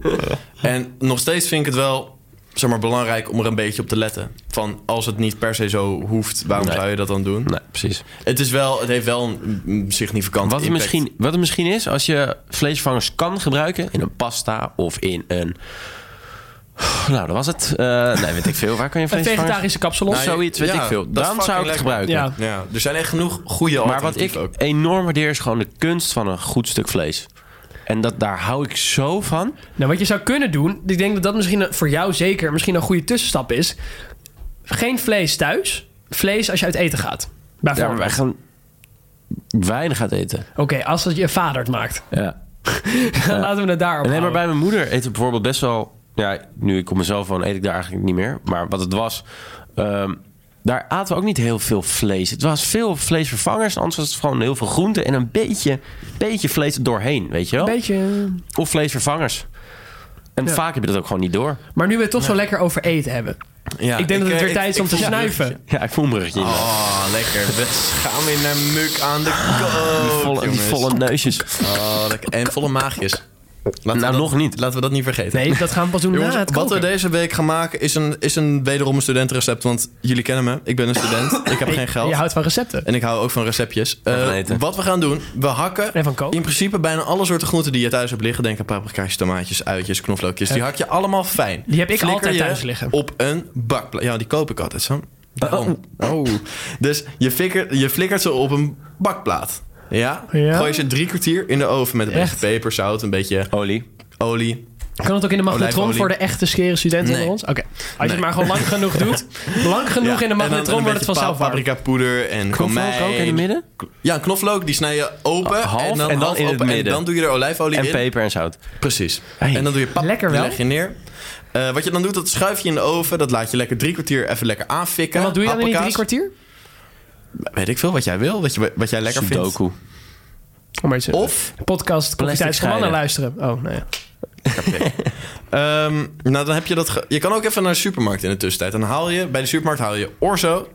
C: en nog steeds vind ik het wel zeg maar, belangrijk om er een beetje op te letten. Van als het niet per se zo hoeft, waarom
A: Nee.
C: zou je dat dan doen?
A: Nee, precies.
C: Het, is wel, het heeft wel een mm, significant
A: Wat het,
C: impact.
A: misschien, wat het misschien is, als je vleesvervangers kan gebruiken in een pasta of in een. Nou, dat was het. Eh, nee, weet ik veel. Waar kan je
B: Een
A: vleesvervangers?
B: vegetarische kapsalon.
C: Nou,
A: Zoiets, weet
C: Ja,
A: ik veel.
C: dat is
A: Dan zou ik het
C: fucking
A: gebruiken.
B: Ja.
C: Ja, er zijn echt genoeg goede
A: Maar wat ik
C: alternatieven ook.
A: enorm waardeer is gewoon de kunst van een goed stuk vlees. En dat, daar hou ik zo van.
B: Nou, wat je zou kunnen doen, ik denk dat dat misschien een- voor jou zeker misschien een goede tussenstap is. Geen vlees thuis, vlees als je uit eten gaat.
A: Ja, maar
B: Bijvoorbeeld.
A: wij gaan weinig uit eten.
B: Oké, als dat je vader het maakt.
A: Ja.
B: Dan laten we het daarop
A: Nee, maar
B: houden.
A: bij mijn moeder eet ik bijvoorbeeld best wel... Ja, nu ik op mezelf woon, eet ik daar eigenlijk niet meer. Maar wat het was... ehm, daar aten we ook niet heel veel vlees. Het was veel vleesvervangers. Anders was het gewoon heel veel groente en een beetje, beetje vlees er doorheen, weet je wel?
B: Beetje.
A: Of vleesvervangers. En vaak heb je dat ook gewoon niet door.
B: Maar nu we het toch zo lekker over eten hebben.
C: Ja,
B: ik denk dat
C: eh,
B: het weer
C: ik-
B: tijd is
C: ik
B: om te
C: voel-
B: snuiven.
A: Ja, ik voel een bruggetje. in.
C: Oh, lekker. We gaan weer naar muk aan de
A: Ah, die,
C: kook,
A: volle, die
C: jongens.
A: volle neusjes.
C: Oh, lekker. En volle maagjes. Laten we
A: Nou,
C: dat-
A: nog niet.
C: Laten we dat niet vergeten.
B: Nee, dat gaan we pas doen
C: Jongens,
B: na Nou, het
C: wat we
B: koken.
C: deze week gaan maken is een, is een wederom een studentenrecept. Want jullie kennen me. Ik ben een student. ik heb geen geld.
B: Je houdt van recepten.
C: En ik hou ook van receptjes. Eh,
A: van eten.
C: wat we gaan doen, we hakken
B: En van kook.
C: in principe bijna alle soorten groenten die je thuis hebt liggen. Denk aan paprika's, tomaatjes, uitjes, knoflookjes. Die hak je allemaal fijn.
B: Eh, Die heb ik
C: Flikker
B: altijd
C: je
B: thuis liggen.
C: Op een bakplaat. Ja, die koop ik altijd zo. Daarom. Oh. Dus je, fikker, je flikkert ze op een bakplaat. Ja?
B: Ja.
C: Gooi ze drie kwartier in de oven met een
B: Echt?
C: beetje peper, zout, een beetje
A: Olie.
C: olie.
B: Kan het ook in de magnetron
C: Olijfolie.
B: voor de echte scheren studenten
C: Nee.
B: onder ons? Oké. Als je het maar gewoon lang genoeg doet. Lang genoeg
C: Ja,
B: in de
C: en dan
B: magnetron
C: een
B: wordt het
C: beetje
B: vanzelf warm.
C: Paprika poeder en
A: Knoflook ook in het
C: komijn.
A: midden.
C: Ja, een knoflook, die snij je open.
A: Half en dan in het
C: open.
A: midden.
C: En dan doe je er olijfolie
A: En
C: in.
A: peper en zout.
C: Precies.
A: Hey.
C: En dan doe je pap,
B: Lekker wel.
C: die leg je neer. Eh, wat je dan doet, dat schuif je in de oven. Dat laat je lekker drie kwartier even lekker aanfikken.
B: En wat doe je dan in die drie
C: Paprika's.
B: kwartier?
C: Weet ik veel, wat jij wil. Wat, je, wat jij lekker vindt.
A: Sudoku.
B: Om maar iets
C: Of,
B: podcast
A: Plastic
B: Koffietijd van mannen
A: scheiden.
B: luisteren. Oh, nou ja.
C: ehm, nou dan heb je dat... ge- je kan ook even naar de supermarkt in de tussentijd. Dan haal je, bij de supermarkt haal je orzo,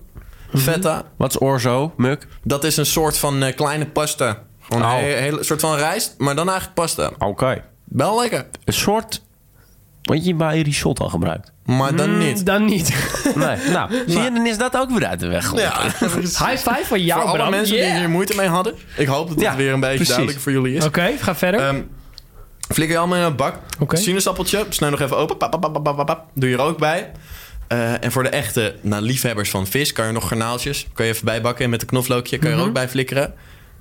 A: Mhm.
C: feta.
A: Wat is orzo? Muk?
C: Dat is een soort van eh, kleine pasta. Gewoon
A: Oh.
C: een hele, soort van rijst, maar dan eigenlijk pasta.
A: Oké.
C: Wel lekker.
A: Een soort Want je bij risotto gebruikt.
C: Maar dan niet.
B: Mm, Dan niet.
A: Nee, nou, zie je, dan is dat ook weer uit de weg.
C: Ja,
B: High five van jou,
C: voor alle
B: Bram.
C: mensen
B: Yeah.
C: die hier moeite mee hadden. Ik hoop dat het
A: Ja,
C: weer een beetje
A: precies.
C: duidelijker voor jullie is.
B: Oké, ga verder.
C: Ehm, flikker je allemaal in een bak.
B: Oké.
C: Sinaasappeltje, snij nog even open. Pap, pap, pap, pap, pap, pap. Doe je er ook bij. Eh, en voor de echte nou, liefhebbers van vis kan je nog garnaaltjes. Kan je even bijbakken en met een knoflookje kan je
B: Mhm.
C: er ook bij flikkeren.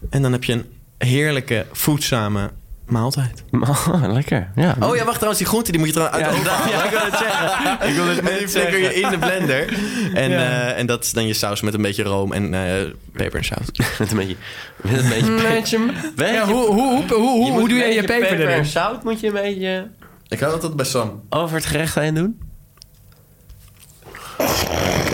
C: En dan heb je een heerlijke, voedzame maaltijd.
A: lekker. Ja.
C: Oh ja, wacht trouwens, die groente die moet je trouwens uit de oven halen.
A: ik wil het zeggen. Ik wil het
C: En die
A: net
C: flikker je
A: zeggen.
C: in de blender. En, eh, en dat is dan je saus met een beetje room en eh, peper en saus.
A: Met een beetje... Met een beetje... Weet
B: Ja,
A: je-
B: hoe, hoe, hoe, hoe, hoe,
A: moet
B: doe je
A: een
B: je
A: beetje
B: peper,
A: en
B: erin?
A: zout moet je een beetje
C: Ik had altijd bij Sam.
A: over het gerecht heen doen.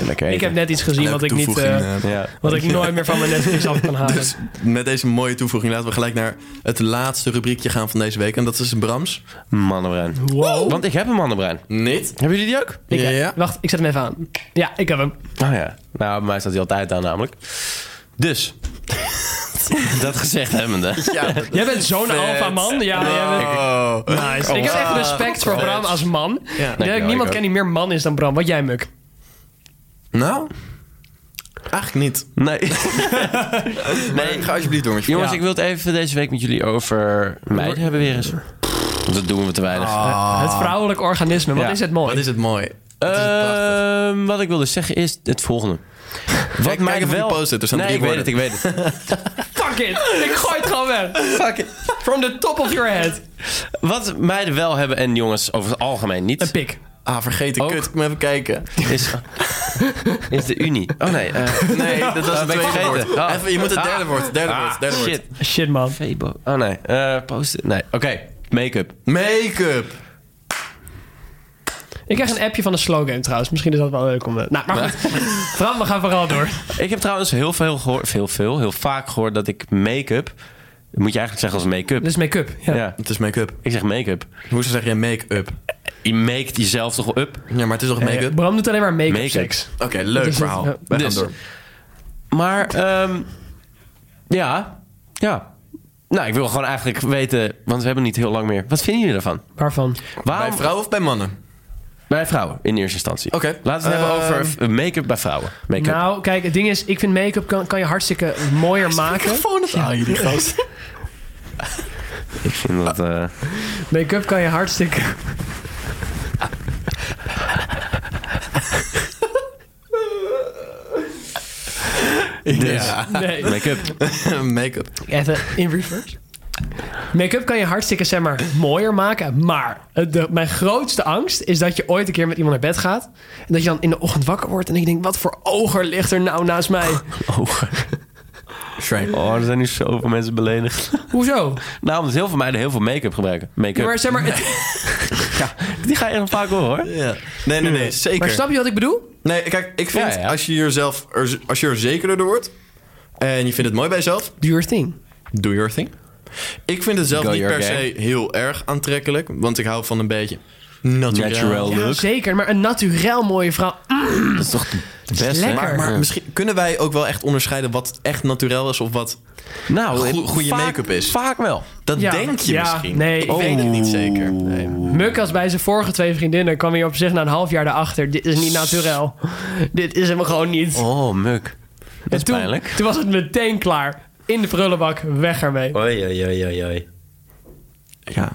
A: Lekker
B: Ik heb net iets gezien wat ik,
C: Leuke
B: niet,
C: toevoeging,
B: eh,
C: eh,
A: Ja.
B: wat ik nooit meer van mijn Netflix af kan halen.
C: Dus met deze mooie toevoeging laten we gelijk naar het laatste rubriekje gaan van deze week. En dat is Brams.
A: Mannenbruin.
B: Wow.
A: Want ik heb een mannenbruin.
C: Niet.
A: Hebben jullie die ook?
B: Ik, eh,
C: Ja, ja.
B: Wacht, ik zet hem even aan. Ja, ik heb hem.
A: Oh ja. Nou, bij mij staat die altijd aan namelijk. Dus. dat gezegd hebbende.
B: Jij bent zo'n alfa man. Ja, jij bent...
C: Oh.
B: Nice. Ik heb echt respect voor Bram als man. Ik denk dat
A: ik
B: niemand
A: ook.
B: ken die meer man is dan Bram. Wat jij, Muk.
C: Nou, eigenlijk niet.
A: Nee.
C: Nee, ga alsjeblieft door met je
A: Jongens,
C: Ja.
A: ik wil het even deze week met jullie over meiden hebben weer eens. Dat doen we te weinig.
B: Het vrouwelijk organisme. Wat
A: Ja.
B: is het mooi.
C: Wat is het mooi. Het is prachtig.
A: Ehm, wat ik wil dus zeggen is het volgende. Wat
C: kijk even op die dus post-it, er staan
A: nee,
C: drie
A: ik weet het,
C: woorden.
A: ik weet het.
B: Fuck it. Ik gooi het gewoon weg. Fuck it. From the top of your head.
A: Wat meiden wel hebben en jongens over het algemeen niet.
B: Een pik.
C: Ah, vergeten
A: Ook.
C: kut. Ik moet even kijken.
A: is, is de Unie. Oh nee. eh,
C: Nee, dat
A: ben
C: was het
A: ik
C: tweede
A: vergeten.
C: woord.
A: Ah.
C: Even, je moet het derde woord. Derde woord. Derde woord.
A: shit.
B: Shit, man.
A: Febo. Oh nee. Eh post Nee. Oké. Make-up.
C: Make-up.
B: Ik krijg een appje van de slogan trouwens. Misschien is dat wel leuk om... eh, Nou, maar goed. Bram, we gaan vooral door.
A: Ik heb trouwens heel veel gehoord, veel, veel, heel vaak gehoord dat ik make-up. Moet je eigenlijk zeggen als make-up.
B: Dit is make-up. Ja.
A: ja.
C: Het is make-up.
A: Ik zeg make-up.
C: Hoezo zeg jij make-up?
A: Je maakt jezelf toch wel up.
C: Ja, maar het is toch make-up?
B: Eh, Bram doet alleen maar make-up
A: Make-up.
B: seks.
C: Oké, leuk
B: is het,
C: verhaal.
B: ja.
C: We gaan
A: Dus.
C: door.
A: Maar ehm, ja, ja. Nou, ik wil gewoon eigenlijk weten, want we hebben niet heel lang meer. Wat vinden jullie daarvan?
B: Waarvan?
A: Waarom?
C: Bij vrouwen of bij mannen?
A: bij vrouwen in eerste instantie.
C: Oké. Ehm,
A: Laten we het hebben over eh, make-up bij vrouwen. Make-up.
B: Nou, kijk, het ding is, ik vind make-up kan, kan je hartstikke mooier maken.
C: Ah, jullie gast.
A: ik vind dat. eh,
B: Make-up kan je hartstikke.
A: dus.
B: Nee,
A: Make-up.
C: make-up.
B: even in reverse. Make-up kan je hartstikke zeg maar, mooier maken. Maar het- de, mijn grootste angst is dat je ooit een keer met iemand naar bed gaat. En dat je dan in de ochtend wakker wordt en dat je denkt: wat voor oger ligt er nou naast mij?
A: Oh,
C: Shrine.
A: oh, er zijn nu zoveel mensen beledigd.
B: Hoezo?
A: Nou, omdat heel veel meiden heel veel make-up gebruiken.
B: Ja,
A: Make-up.
B: maar, zeg maar, het-
A: Die ga je nog vaak horen hoor.
C: Ja. Nee, nee, nee. Zeker.
B: maar snap je wat ik bedoel?
C: Nee, kijk, ik vind
A: Ja, ja.
C: als je jezelf er, als je er zekerder door wordt en je vindt het mooi bij jezelf,
B: Duur thing.
C: do your thing. Ik vind het zelf
A: Go
C: niet
A: your
C: per
A: gang.
C: se heel erg aantrekkelijk, want ik hou van een beetje natural.
A: Natural
B: Ja,
A: look.
B: zeker, maar een naturel mooie vrouw.
A: Dat is toch het beste.
B: lekker.
A: hè?
C: Maar, maar misschien kunnen wij ook wel echt onderscheiden wat echt naturel is of wat.
A: nou,
C: goe- goede
A: vaak-
C: make-up is.
A: Vaak wel.
C: Dat
B: Ja,
C: denk je
B: ja,
C: misschien.
B: nee.
C: ik weet het niet zeker.
A: Oh.
C: Nee.
B: Muk als bij zijn vorige twee vriendinnen kwam hij op zich na een half jaar daarachter. Dit is niet naturel. Dit is hem gewoon niet.
A: Oh, muk. Dat is
B: en toen,
A: pijnlijk.
B: toen was het meteen klaar. In de prullenbak, weg ermee.
A: Oei, oei, oei, oei, oei.
C: Ja.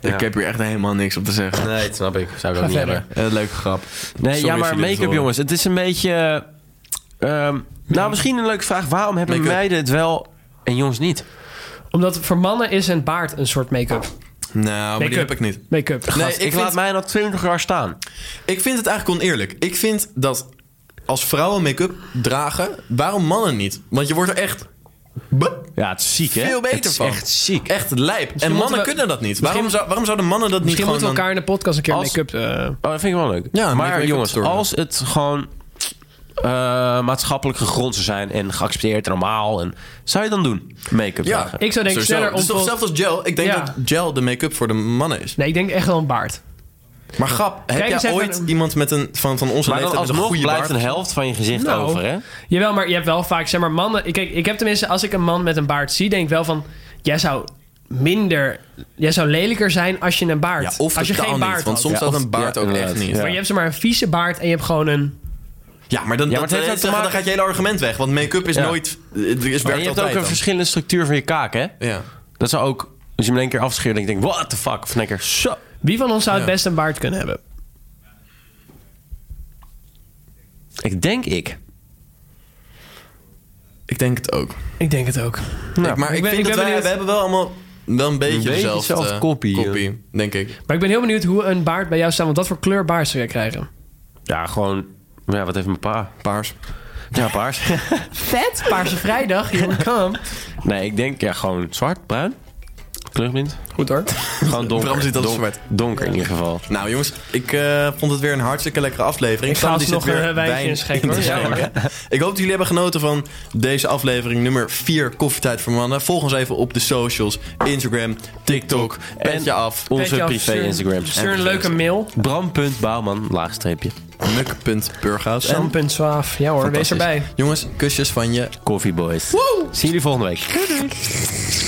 A: Ja.
C: Ik heb hier echt helemaal niks op te zeggen.
A: Nee, dat snap ik. Zou ik ook
B: Ga
A: niet
B: verder.
A: hebben.
C: Eh, leuke grap.
A: Nee,
C: Sorry
A: ja,
C: als
A: maar
C: jullie dit
A: make-up,
C: horen.
A: jongens. Het is een beetje... ehm, nou, misschien een leuke vraag. Waarom hebben
C: Make-up.
A: meiden het wel en jongens niet?
B: Omdat voor mannen is een baard een soort make-up.
C: Nou, maar die
B: Make-up.
C: heb ik niet.
B: Make-up.
C: Nee,
A: Gast, ik
C: ik
A: laat
C: vind-
A: mij nog 20 jaar staan.
C: Ik vind het eigenlijk oneerlijk. Ik vind dat als vrouwen make-up dragen, waarom mannen niet? Want je wordt er echt bup,
A: Ja, het is ziek, hè?
C: veel beter
A: Het is
C: van.
A: echt ziek.
C: Echt lijp. en
B: moeten
C: mannen
B: we-
C: kunnen dat niet. Waarom, zou, waarom zouden mannen dat niet
B: Misschien
C: gewoon
B: moeten we elkaar in de podcast een keer
A: Als-
B: make-up... eh,
A: Oh, dat vind ik wel leuk.
C: Ja, maar ik weet
A: maar
C: ook
A: jongens,
C: het door.
A: als het gewoon eh, maatschappelijk gegrond zou zijn en geaccepteerd en normaal, en, zou je dan doen? Make-up
C: Ja.
A: dragen.
B: ik zou denk
C: Sowieso.
B: ik sneller
C: Het is toch
B: ontploft-
C: hetzelfde als gel? Ik denk
B: Ja.
C: dat gel de make-up voor de mannen is.
B: Nee, ik denk echt wel een baard.
C: Maar grap,
B: Kijk
C: heb
B: eens
C: jij
B: even-
C: ooit iemand met een, van, van onze
A: Maar dan
C: leeftijd met een
A: alsnog
C: goede
A: blijft
C: baard?
A: een helft van je gezicht
B: Nou.
A: over, hè?
B: Jawel, maar je hebt wel vaak, zeg maar, mannen... Kijk, ik heb tenminste, als ik een man met een baard zie, denk ik wel van... Jij zou minder... Jij zou lelijker zijn als je een baard...
C: Ja, of
B: als je
C: totaal
B: geen baard
C: niet. Want
B: had.
C: soms
A: Ja,
C: had
A: of-
C: een baard
A: ja,
C: ook echt
A: inderdaad.
C: niet.
A: Ja.
B: Maar je hebt maar een vieze baard en je hebt gewoon een...
C: Ja, maar dan,
A: Ja, maar het
C: dat-
A: heeft ook te
C: dan- dan
A: maken-
C: gaat je hele argument weg. Want make-up is
A: Ja.
C: nooit... Het is
A: Maar
C: werkt
A: je hebt ook
C: altijd
A: een
C: dan.
A: verschillende structuur van je kaak, hè?
C: Ja.
A: Dat zou ook... Als je hem in één keer afscheert, dan denk je, what the fuck? Of in één keer, zo.
B: Wie van ons zou het
C: Ja.
B: best een baard kunnen hebben?
A: Ik denk ik.
C: Ik denk het ook.
B: Ik denk het ook.
C: Ik- maar ik, vind
B: ben- Nou, ik ben
C: dat wij,
B: benieuwd.
C: we hebben wel allemaal wel een beetje,
A: beetje
C: dezelfde
A: dezelfde kopie, eh. ja.
C: denk ik.
B: Maar ik ben heel benieuwd hoe een baard bij jou staat. Want wat voor kleur baard zou jij krijgen?
A: Ja, gewoon... Ja, wat heeft mijn pa?
C: Paars.
A: Ja, paars.
B: Vet, Paarse Vrijdag, here we come.
A: nee, ik denk ja, gewoon zwart, bruin. Kleurblind.
B: Goed hoor.
A: Gewoon donker.
C: Bram ziet dat als
A: Donk-
C: zwart.
A: Donker in ieder geval.
C: Nou jongens, ik eh, vond het weer een hartstikke lekkere aflevering.
B: Ik ga
C: Sam, die
B: alsnog
C: zit weer
B: een wijntje
C: wijn
B: inschenken, hoor.
C: in te
B: Ja, hoor.
C: schenken. Ik hoop dat jullie hebben genoten van deze aflevering nummer 4 Koffietijd voor Mannen. Volg ons even op de socials. Instagram, TikTok, petje af.
A: Onze privé Instagram.
B: Stuur een leuke mail.
A: Bram.bouwman, laagstreepje.
C: Muk.burghuis. En
B: Sam.swaaf. Ja hoor, wees
A: Fantastisch.
B: erbij.
C: jongens, kusjes van je
A: Coffee Boys. Zien jullie volgende week.